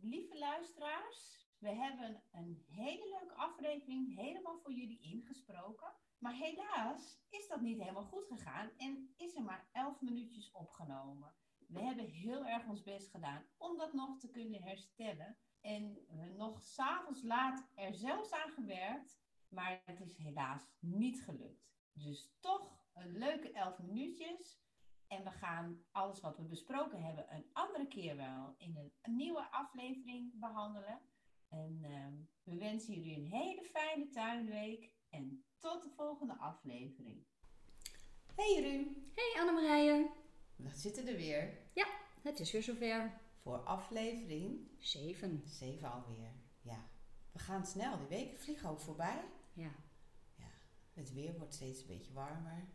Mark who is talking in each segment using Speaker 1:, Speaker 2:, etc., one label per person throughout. Speaker 1: lieve luisteraars, we hebben een hele leuke aflevering helemaal voor jullie ingesproken. Maar helaas is dat niet helemaal goed gegaan en is er maar 11 minuutjes opgenomen. We hebben heel erg ons best gedaan om dat nog te kunnen herstellen. En we nog s'avonds laat er zelfs aan gewerkt, maar het is helaas niet gelukt. Dus toch een leuke 11 minuutjes. En we gaan alles wat we besproken hebben een andere keer wel in een, een nieuwe aflevering behandelen. En ehm, we wensen jullie een hele fijne tuinweek en tot de volgende aflevering.
Speaker 2: Hey Ru,
Speaker 3: Hey Annemarije,
Speaker 2: we zitten er weer
Speaker 3: het is weer zover.
Speaker 2: voor aflevering
Speaker 3: 7.
Speaker 2: 7 alweer. Ja, we gaan snel, die weken vliegen ook voorbij.
Speaker 3: Ja.
Speaker 2: Het weer wordt steeds een beetje warmer.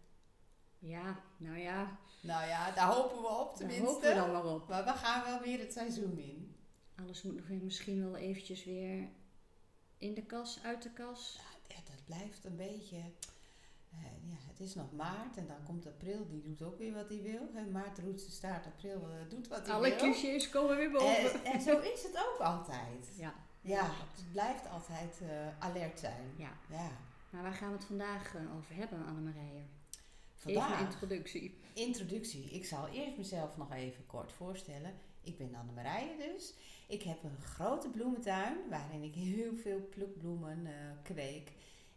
Speaker 3: ja, nou ja,
Speaker 2: Nou ja, daar hopen we op
Speaker 3: daar
Speaker 2: tenminste.
Speaker 3: hopen we dan maar op.
Speaker 2: Maar we gaan wel weer het seizoen in.
Speaker 3: Alles moet nog weer misschien wel eventjes weer in de kas, uit de kas.
Speaker 2: Ja, dat blijft een beetje... eh, ja, het is nog maart en dan komt april, die doet ook weer wat hij wil. Hè, maart roet zijn staart, april eh, doet wat hij
Speaker 3: Alle
Speaker 2: wil.
Speaker 3: clichés komen weer boven.
Speaker 2: en, en zo is het ook altijd.
Speaker 3: Ja,
Speaker 2: Ja, het blijft altijd eh, alert zijn.
Speaker 3: ja.
Speaker 2: Ja,
Speaker 3: Maar waar gaan we het vandaag eh, over hebben, Annemarije? Even
Speaker 2: vandaag...
Speaker 3: introductie.
Speaker 2: Introductie. Ik zal eerst mezelf nog even kort voorstellen. Ik ben Annemarije dus. Ik heb een grote bloementuin waarin ik heel veel plukbloemen eh, kweek.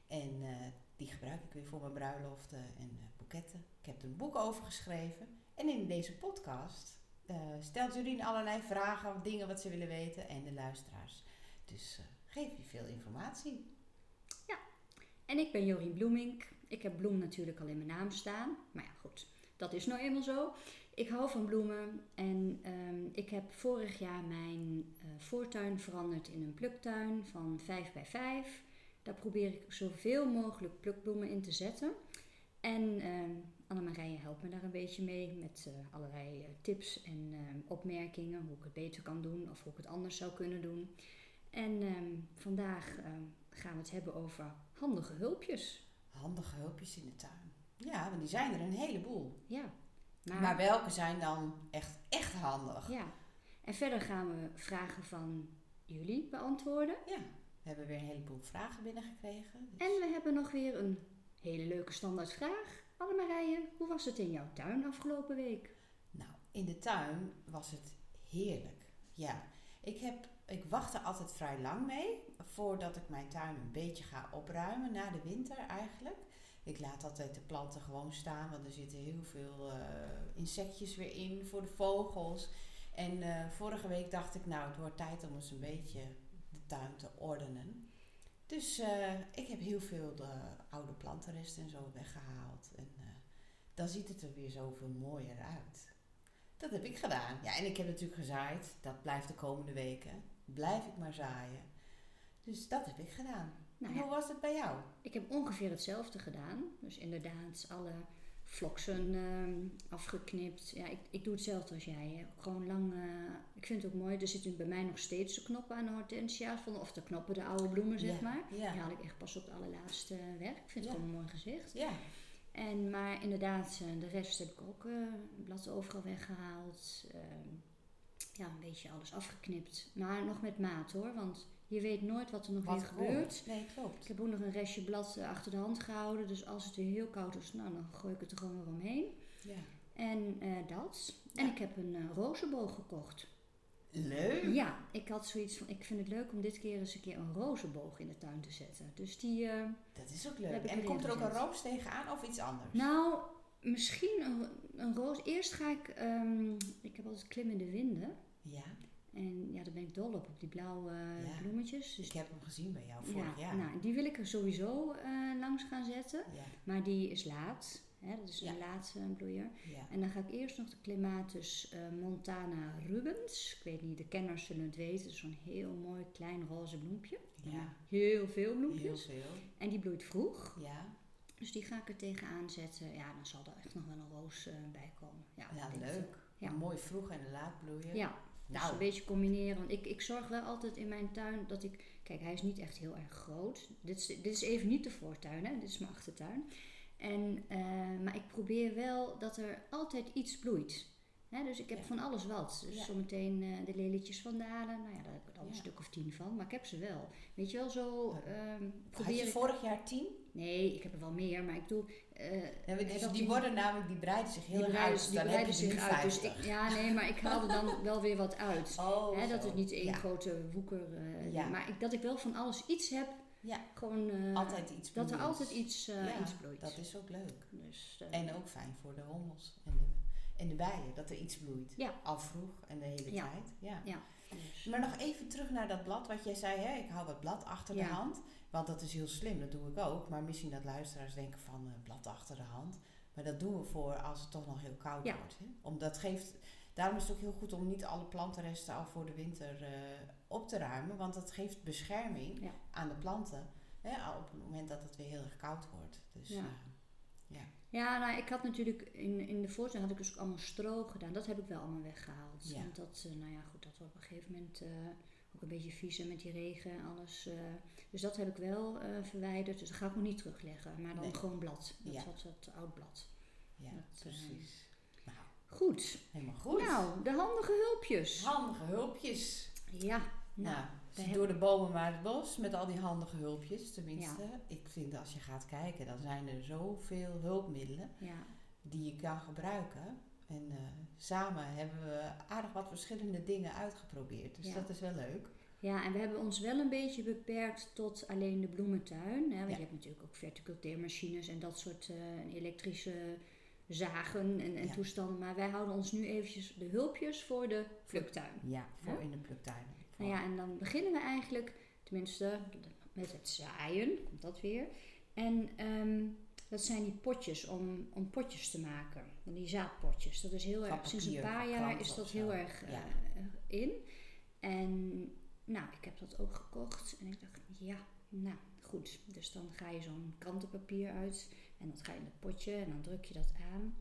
Speaker 2: En eh, die gebruik ik weer voor mijn bruiloften en eh, boeketten. Ik heb er een boek over geschreven. En in deze podcast eh, stelt Jurien allerlei vragen of dingen wat ze willen weten en de luisteraars. Dus eh, geef je veel informatie.
Speaker 3: En ik ben Jorien Bloemink. Ik heb bloem natuurlijk al in mijn naam staan. Maar ja, goed. Dat is nou eenmaal zo. Ik hou van bloemen en ehm, ik heb vorig jaar mijn eh, voortuin veranderd in een pluktuin van 5 bij 5. Daar probeer ik zoveel mogelijk plukbloemen in te zetten. En ehm Annemarije helpt me daar een beetje mee met eh, allerlei eh, tips en ehm, opmerkingen. Hoe ik het beter kan doen of hoe ik het anders zou kunnen doen. En ehm, vandaag ehm, gaan we het hebben over handige hulpjes.
Speaker 2: Handige hulpjes in de tuin. Ja, want die zijn er een heleboel.
Speaker 3: Ja,
Speaker 2: Maar welke zijn dan echt, echt handig?
Speaker 3: Ja, en verder gaan we vragen van jullie beantwoorden.
Speaker 2: Ja, we hebben weer een heleboel vragen binnengekregen. Dus-
Speaker 3: En we hebben nog weer een hele leuke standaardvraag. Annemarije, hoe was het in jouw tuin afgelopen week?
Speaker 2: Nou, in de tuin was het heerlijk. Ja, ik, heb, ik wacht er altijd vrij lang mee voordat ik mijn tuin een beetje ga opruimen na de winter eigenlijk. Ik laat altijd de planten gewoon staan, want er zitten heel veel eh, insectjes weer in voor de vogels. En eh, vorige week dacht ik, nou, het wordt tijd om eens een beetje de tuin te ordenen. Dus eh, ik heb heel veel de oude plantenresten en zo weggehaald. En eh, dan ziet het er weer zoveel mooier uit. Dat heb ik gedaan. Ja, en ik heb natuurlijk gezaaid. Dat blijft de komende weken. Blijf ik maar zaaien. Dus dat heb ik gedaan.
Speaker 3: Nou
Speaker 2: En
Speaker 3: ja,
Speaker 2: hoe was het bij jou?
Speaker 3: ik heb ongeveer hetzelfde gedaan. Dus inderdaad, alle vloksen ehm, afgeknipt. Ja, ik, ik doe hetzelfde als jij. hè. Gewoon lang. eh, ik vind het ook mooi. Er zitten bij mij nog steeds de knoppen aan de hortensia's. Van, of de knoppen, de oude bloemen, zeg
Speaker 2: Ja,
Speaker 3: maar.
Speaker 2: Ja.
Speaker 3: Die haal ik echt pas op het allerlaatste werk. Ik vind het
Speaker 2: Ja.
Speaker 3: gewoon een mooi gezicht.
Speaker 2: ja.
Speaker 3: En, maar inderdaad, eh, de rest heb ik ook eh blad overal weggehaald. Ehm, ja, een beetje alles afgeknipt. Maar nog met maat hoor, want je weet nooit wat er nog
Speaker 2: Wat
Speaker 3: weer gebeurt.
Speaker 2: komt? Nee,
Speaker 3: Ik
Speaker 2: klopt.
Speaker 3: heb ook nog een restje blad eh, achter de hand gehouden. Dus als het weer heel koud is, nou, dan gooi ik het er gewoon weer omheen.
Speaker 2: Ja.
Speaker 3: En eh, dat. En ik heb een eh, rozenboog gekocht.
Speaker 2: Leuk.
Speaker 3: Ja, ik had zoiets van, ik vind het leuk om dit keer eens een keer een rozenboog in de tuin te zetten. Dus die... eh,
Speaker 2: Dat is ook
Speaker 3: Heb
Speaker 2: leuk.
Speaker 3: ik
Speaker 2: En
Speaker 3: erin
Speaker 2: komt er ook een
Speaker 3: gezet.
Speaker 2: roos tegenaan of iets anders?
Speaker 3: Nou, misschien een, een roos. Eerst ga ik, ehm, ik heb altijd klimmende winden.
Speaker 2: Ja.
Speaker 3: En ja, daar ben ik dol op, op die blauwe eh,
Speaker 2: Ja.
Speaker 3: bloemetjes. Dus
Speaker 2: Ik heb hem gezien bij jou
Speaker 3: ja,
Speaker 2: vorig jaar.
Speaker 3: nou, die wil ik er sowieso eh, langs gaan zetten.
Speaker 2: Ja.
Speaker 3: Maar die is laat. Hè, dat is
Speaker 2: Ja.
Speaker 3: de laatste bloeier.
Speaker 2: Ja.
Speaker 3: En dan ga ik eerst nog de Clematis eh, Montana Rubens. Ik weet niet, de kenners zullen het weten. Het is Zo'n heel mooi klein roze bloempje.
Speaker 2: Ja.
Speaker 3: Heel veel bloempjes.
Speaker 2: Heel veel.
Speaker 3: En die bloeit vroeg.
Speaker 2: Ja.
Speaker 3: Dus die ga ik er tegenaan zetten. Ja, dan zal er echt nog wel een roos eh, bij komen. Ja,
Speaker 2: Ja,
Speaker 3: ik denk het
Speaker 2: leuk.
Speaker 3: Ja.
Speaker 2: Mooi vroeg en laat bloeien.
Speaker 3: Ja, dus een
Speaker 2: Nou,
Speaker 3: beetje combineren. Want ik, ik zorg wel altijd in mijn tuin dat ik. Kijk, hij is niet echt heel erg groot. Dit is, dit is even niet de voortuin, hè? dit is mijn achtertuin. En, eh, maar ik probeer wel dat er altijd iets bloeit. Hè, dus ik heb
Speaker 2: Ja.
Speaker 3: van alles wat. Dus
Speaker 2: Ja.
Speaker 3: zometeen eh, de lelietjes van Dalen. Nou ja, daar heb ik al een
Speaker 2: Ja.
Speaker 3: stuk of tien van. Maar ik heb ze wel. Weet je wel, zo
Speaker 2: Ja.
Speaker 3: ehm
Speaker 2: Had
Speaker 3: probeer
Speaker 2: je
Speaker 3: ik...
Speaker 2: vorig jaar tien?
Speaker 3: Nee, ik heb er wel meer. Maar ik doe... eh,
Speaker 2: Ja, want
Speaker 3: Nee,
Speaker 2: die,
Speaker 3: dat
Speaker 2: die
Speaker 3: die-
Speaker 2: worden namelijk, die breiden zich heel
Speaker 3: die
Speaker 2: erg
Speaker 3: breiden,
Speaker 2: uit.
Speaker 3: die
Speaker 2: Dan heb je
Speaker 3: breiden
Speaker 2: ze nu
Speaker 3: zich uit. Dus
Speaker 2: 50.
Speaker 3: ik, ja, nee, maar ik haal er dan wel weer wat uit.
Speaker 2: oh,
Speaker 3: Hè, dat
Speaker 2: zo.
Speaker 3: het niet één
Speaker 2: Ja,
Speaker 3: grote woeker... eh
Speaker 2: Ja.
Speaker 3: Maar ik, dat ik wel van alles iets heb.
Speaker 2: Ja.
Speaker 3: Gewoon, eh,
Speaker 2: altijd iets
Speaker 3: dat er
Speaker 2: bloeiends.
Speaker 3: altijd iets, eh
Speaker 2: Ja,
Speaker 3: iets bloeit.
Speaker 2: Dat is ook leuk.
Speaker 3: Dus, eh,
Speaker 2: En ook fijn voor de hommels en de, en de bijen, dat er iets bloeit.
Speaker 3: Ja.
Speaker 2: Al vroeg en de hele
Speaker 3: Ja.
Speaker 2: tijd. Ja.
Speaker 3: dus-
Speaker 2: Maar nog even terug naar dat blad wat jij zei. Hè? Ik hou dat blad achter
Speaker 3: Ja.
Speaker 2: de hand. Want dat is heel slim, dat doe ik ook. Maar misschien dat luisteraars denken van eh, blad achter de hand. Maar dat doen we voor als het toch nog heel koud
Speaker 3: Ja.
Speaker 2: wordt. Hè? Omdat geeft, daarom is het ook heel goed om niet alle plantenresten al voor de winter eh, op te ruimen. Want dat geeft bescherming
Speaker 3: Ja.
Speaker 2: aan de planten. Hè? Op het moment dat het weer heel erg koud wordt. Dus,
Speaker 3: Ja.
Speaker 2: eh,
Speaker 3: Ja, nou, ik had natuurlijk in, in de voortuin had ik dus ook allemaal stro gedaan. Dat heb ik wel allemaal weggehaald.
Speaker 2: Ja.
Speaker 3: Want dat, eh, nou ja, goed, dat was op een gegeven moment eh, ook een beetje vies en met die regen en alles. eh. dus dat heb ik wel eh, verwijderd. Dus dat ga ik nog niet terugleggen. Maar dan
Speaker 2: Nee.
Speaker 3: gewoon blad. Dat
Speaker 2: Ja.
Speaker 3: had het oud blad.
Speaker 2: ja,
Speaker 3: Dat, eh,
Speaker 2: precies. Nou,
Speaker 3: Goed.
Speaker 2: helemaal goed.
Speaker 3: Nou, de handige hulpjes.
Speaker 2: Handige hulpjes.
Speaker 3: ja. Nou,
Speaker 2: Nou,
Speaker 3: we
Speaker 2: door de bomen maar het bos met al die handige hulpjes. Tenminste, ik vind als je gaat kijken, dan zijn er zoveel hulpmiddelen
Speaker 3: ja.
Speaker 2: die je kan gebruiken. En eh, samen hebben we aardig wat verschillende dingen uitgeprobeerd. Dus
Speaker 3: Ja.
Speaker 2: dat is wel leuk.
Speaker 3: Ja, en we hebben ons wel een beetje beperkt tot alleen de bloementuin. Hè? Want
Speaker 2: Ja.
Speaker 3: je hebt natuurlijk ook verticulteermachines en dat soort eh, elektrische zagen en, en
Speaker 2: Ja.
Speaker 3: toestanden. Maar wij houden ons nu eventjes de hulpjes voor de pluktuin.
Speaker 2: Ja, voor in de pluktuin.
Speaker 3: Nou ja, en dan beginnen we eigenlijk, tenminste met het zaaien, komt dat weer. En ehm, dat zijn die potjes om, om potjes te maken. Van Die zaadpotjes. Dat is heel
Speaker 2: Van
Speaker 3: erg, sinds een
Speaker 2: papier,
Speaker 3: paar
Speaker 2: van
Speaker 3: jaar
Speaker 2: krant
Speaker 3: is
Speaker 2: of
Speaker 3: dat
Speaker 2: zo.
Speaker 3: heel erg eh,
Speaker 2: Ja.
Speaker 3: in. En nou, ik heb dat ook gekocht. En ik dacht, ja, nou goed. Dus dan ga je zo'n krantenpapier uit. En dat ga je in dat potje en dan druk je dat aan.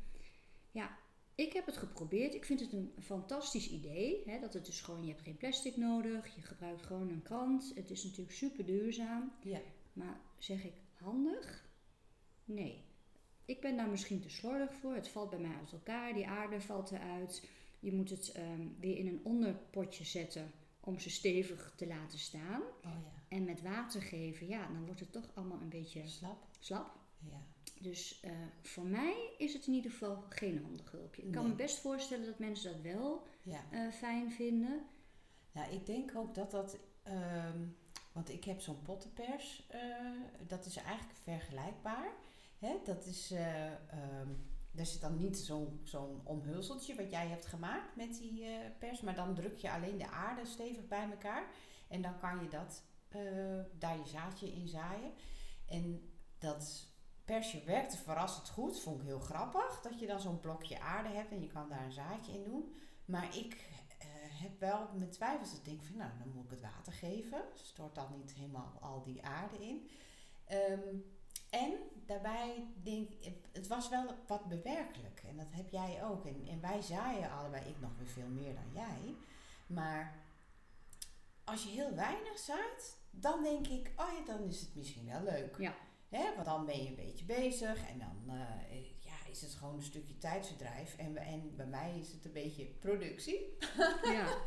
Speaker 3: Ja, ik heb het geprobeerd. Ik vind het een fantastisch idee. Hè, dat het dus gewoon, je hebt geen plastic nodig. Je gebruikt gewoon een krant. Het is natuurlijk super duurzaam.
Speaker 2: Ja.
Speaker 3: Maar zeg ik handig? Nee. Ik ben daar misschien te slordig voor. Het valt bij mij uit elkaar. Die aarde valt eruit. Je moet het ehm, weer in een onderpotje zetten om ze stevig te laten staan.
Speaker 2: Oh ja.
Speaker 3: En met water geven, ja, dan wordt het toch allemaal een beetje
Speaker 2: Slap.
Speaker 3: slap.
Speaker 2: Ja.
Speaker 3: Dus eh, voor mij is het in ieder geval geen handig hulpje. Ik kan
Speaker 2: Nee.
Speaker 3: me best voorstellen dat mensen dat wel
Speaker 2: ja.
Speaker 3: eh, fijn vinden.
Speaker 2: Nou, ik denk ook dat dat. ehm, want ik heb zo'n pottenpers. eh, dat is eigenlijk vergelijkbaar. Hè? Dat is. eh, ehm, daar zit dan niet zo'n zo'n omhulseltje wat jij hebt gemaakt met die eh, pers. Maar dan druk je alleen de aarde stevig bij elkaar. En dan kan je dat, eh, daar je zaadje in zaaien. En dat persje werkte verrassend goed. Vond ik heel grappig. Dat je dan zo'n blokje aarde hebt en je kan daar een zaadje in doen. Maar ik eh, heb wel mijn twijfels. Ik denk van nou, dan moet ik het water geven. Stort dan niet helemaal al die aarde in. Ehm, en daarbij denk ik, het was wel wat bewerkelijk. En dat heb jij ook. En, en wij zaaien allebei, ik nog weer veel meer dan jij. Maar als je heel weinig zaait, dan denk ik, oh ja, dan is het misschien wel leuk.
Speaker 3: Ja.
Speaker 2: Hè, want dan ben je een beetje bezig en dan eh, ja, is het gewoon een stukje tijdsverdrijf. En, en bij mij is het een beetje productie.
Speaker 3: Ja,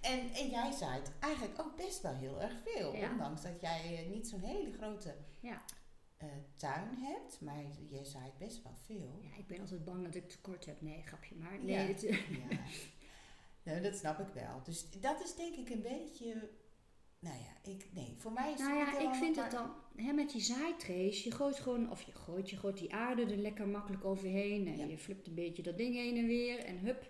Speaker 2: En, en jij zaait eigenlijk ook best wel heel erg veel.
Speaker 3: Ja.
Speaker 2: Ondanks dat jij eh, niet zo'n hele grote
Speaker 3: Ja.
Speaker 2: eh, tuin hebt. Maar je zaait best wel veel.
Speaker 3: ja, ik ben altijd bang dat ik tekort heb. Nee, grapje maar. Nee,
Speaker 2: Ja.
Speaker 3: het-
Speaker 2: Ja. nou, dat snap ik wel. Dus dat is denk ik een beetje... Nou ja, ik... Nee, voor mij is
Speaker 3: nou
Speaker 2: het
Speaker 3: ja,
Speaker 2: wel
Speaker 3: ik vind
Speaker 2: maar-
Speaker 3: het dan hè, met die zaaitrays. Je gooit gewoon, of je gooit, je gooit die aarde er lekker makkelijk overheen. En
Speaker 2: Ja.
Speaker 3: je flipt een beetje dat ding heen en weer. En hup,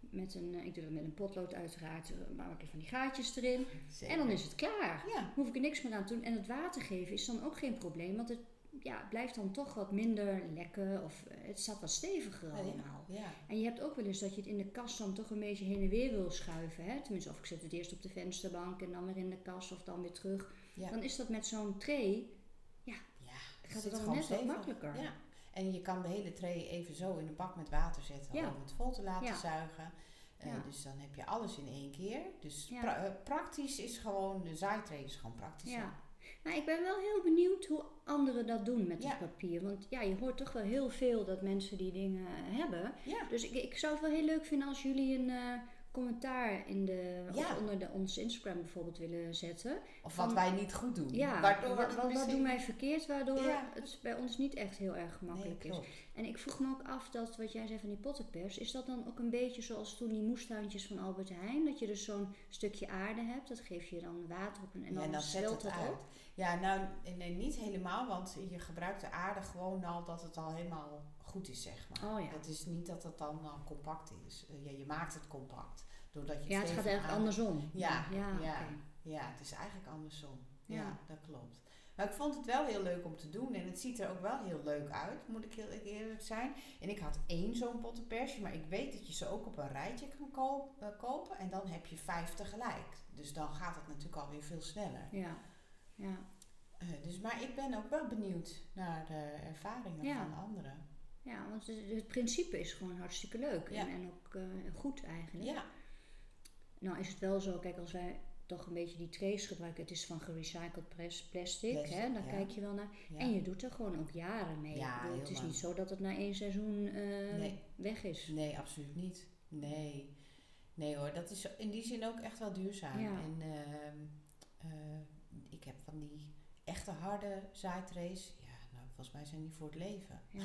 Speaker 3: met een, eh, ik doe dat met een potlood uiteraard. eh, Maak ik van die gaatjes erin.
Speaker 2: Zeker.
Speaker 3: En dan is het klaar.
Speaker 2: Ja,
Speaker 3: hoef ik er niks meer aan te doen. En het water geven is dan ook geen probleem, want het ja, het blijft dan toch wat minder lekker of eh, het staat wat steviger
Speaker 2: Ja,
Speaker 3: allemaal.
Speaker 2: ja.
Speaker 3: En je hebt ook wel eens dat je het in de kast dan toch een beetje heen en weer wil schuiven. Hè? Tenminste, of ik zet het eerst op de vensterbank en dan weer in de kast of dan weer terug.
Speaker 2: Ja.
Speaker 3: Dan is dat met zo'n tray,
Speaker 2: ja.
Speaker 3: gaat
Speaker 2: zit
Speaker 3: het dan
Speaker 2: gewoon
Speaker 3: net wat
Speaker 2: stevig.
Speaker 3: makkelijker.
Speaker 2: Ja. En je kan de hele tray even zo in een bak met water zetten
Speaker 3: Ja.
Speaker 2: om het vol te laten
Speaker 3: Ja.
Speaker 2: zuigen. Eh,
Speaker 3: Ja.
Speaker 2: Dus dan heb je alles in één keer. Dus
Speaker 3: Ja.
Speaker 2: pra- eh, praktisch is gewoon, de zaaitray is gewoon praktisch.
Speaker 3: Ja. Maar ik ben wel heel benieuwd hoe anderen dat doen met
Speaker 2: Ja.
Speaker 3: het papier. Want ja, je hoort toch wel heel veel dat mensen die dingen hebben.
Speaker 2: Ja.
Speaker 3: Dus ik, ik zou het wel heel leuk vinden als jullie een eh, commentaar in de, of
Speaker 2: Ja.
Speaker 3: onder de, ons Instagram bijvoorbeeld willen zetten.
Speaker 2: Of wat
Speaker 3: Van-
Speaker 2: wij niet goed doen.
Speaker 3: Ja,
Speaker 2: Waardoor
Speaker 3: wa-
Speaker 2: het
Speaker 3: wa- wat,
Speaker 2: misschien-
Speaker 3: doen wij verkeerd waardoor
Speaker 2: Ja.
Speaker 3: het bij ons niet echt heel erg
Speaker 2: Nee,
Speaker 3: gemakkelijk is.
Speaker 2: klopt.
Speaker 3: En ik vroeg me ook af dat wat jij zei van die pottenpers, is dat dan ook een beetje zoals toen die moestuintjes van Albert Heijn? Dat je dus zo'n stukje aarde hebt, dat geef je dan water op en, en
Speaker 2: Ja,
Speaker 3: dan,
Speaker 2: en dan zet
Speaker 3: zwelt
Speaker 2: het
Speaker 3: dat
Speaker 2: uit.
Speaker 3: op.
Speaker 2: Ja, nou nee, niet helemaal, want je gebruikt de aarde gewoon al dat het al helemaal goed is, zeg maar.
Speaker 3: Oh ja.
Speaker 2: Het is niet dat het dan al compact is. Eh, Ja, je maakt het compact. Doordat je
Speaker 3: Ja, het
Speaker 2: stevig
Speaker 3: gaat eigenlijk
Speaker 2: aan-
Speaker 3: andersom.
Speaker 2: Ja,
Speaker 3: ja,
Speaker 2: ja.
Speaker 3: oké.
Speaker 2: Ja, het is eigenlijk andersom. Ja,
Speaker 3: Ja.
Speaker 2: dat klopt. Maar ik vond het wel heel leuk om te doen en het ziet er ook wel heel leuk uit, moet ik heel eerlijk zijn. En ik had één zo'n pottenpersje, maar ik weet dat je ze ook op een rijtje kan koop- eh, kopen en dan heb je vijf tegelijk. Dus dan gaat het natuurlijk alweer veel sneller.
Speaker 3: Ja, ja,
Speaker 2: Eh, dus, maar ik ben ook wel benieuwd naar de ervaringen
Speaker 3: Ja.
Speaker 2: van anderen.
Speaker 3: ja, want het, het principe is gewoon hartstikke leuk
Speaker 2: Ja.
Speaker 3: en, en ook eh, goed eigenlijk.
Speaker 2: Ja,
Speaker 3: Nou is het wel zo, kijk als wij toch een beetje die trays gebruiken, het is van gerecycled pres- plastic,
Speaker 2: Plastic,
Speaker 3: hè, daar
Speaker 2: ja.
Speaker 3: kijk je wel naar.
Speaker 2: ja.
Speaker 3: En je doet er gewoon ook jaren mee.
Speaker 2: Ja,
Speaker 3: Ik bedoel, het
Speaker 2: heel
Speaker 3: is
Speaker 2: lang.
Speaker 3: niet zo dat het na één seizoen eh,
Speaker 2: Nee.
Speaker 3: weg is.
Speaker 2: Nee, absoluut niet. Nee. Nee hoor, dat is in die zin ook echt wel duurzaam.
Speaker 3: Ja.
Speaker 2: En ehm, eh, ik heb van die echte harde zaaitrays, ja, nou volgens mij zijn die voor het leven.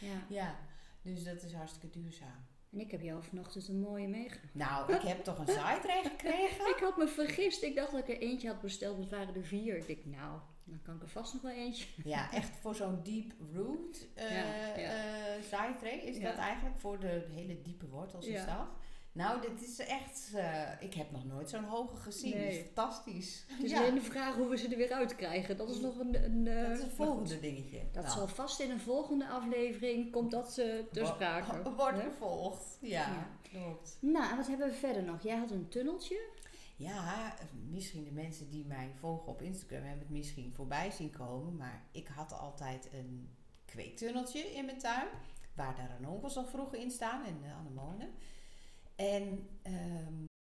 Speaker 3: Ja. ja.
Speaker 2: Ja, dus dat is hartstikke duurzaam.
Speaker 3: En ik heb jou vanochtend een mooie meegenomen.
Speaker 2: Nou, ik heb toch een zaaitray gekregen?
Speaker 3: Ik had me vergist. Ik dacht dat ik er eentje had besteld, maar het waren er vier. Ik dacht, nou, dan kan ik er vast nog wel eentje.
Speaker 2: Ja, echt voor zo'n deep root eh
Speaker 3: Ja, ja.
Speaker 2: eh, zaaitree is
Speaker 3: Ja.
Speaker 2: dat eigenlijk voor de hele diepe wortels is
Speaker 3: Ja.
Speaker 2: dat. Nou, dit is echt, eh, ik heb nog nooit zo'n hoge gezien.
Speaker 3: Nee.
Speaker 2: Dus fantastisch.
Speaker 3: Het is
Speaker 2: Ja,
Speaker 3: alleen de vraag hoe we ze er weer uit krijgen. Dat is nog een... een eh,
Speaker 2: dat is het
Speaker 3: maar
Speaker 2: volgende
Speaker 3: goed.
Speaker 2: dingetje.
Speaker 3: Dat
Speaker 2: Nou,
Speaker 3: zal vast in een volgende aflevering, komt dat eh ter
Speaker 2: wo-
Speaker 3: sprake.
Speaker 2: Wordt
Speaker 3: hè?
Speaker 2: gevolgd. Ja,
Speaker 3: Ja.
Speaker 2: klopt.
Speaker 3: Nou, en wat hebben we verder nog? Jij had een tunneltje.
Speaker 2: Ja, eh, misschien de mensen die mij volgen op Instagram hebben het misschien voorbij zien komen. Maar ik had altijd een kweektunneltje in mijn tuin. Waar de ranonkels al vroeg in staan en de anemonen. En ehm,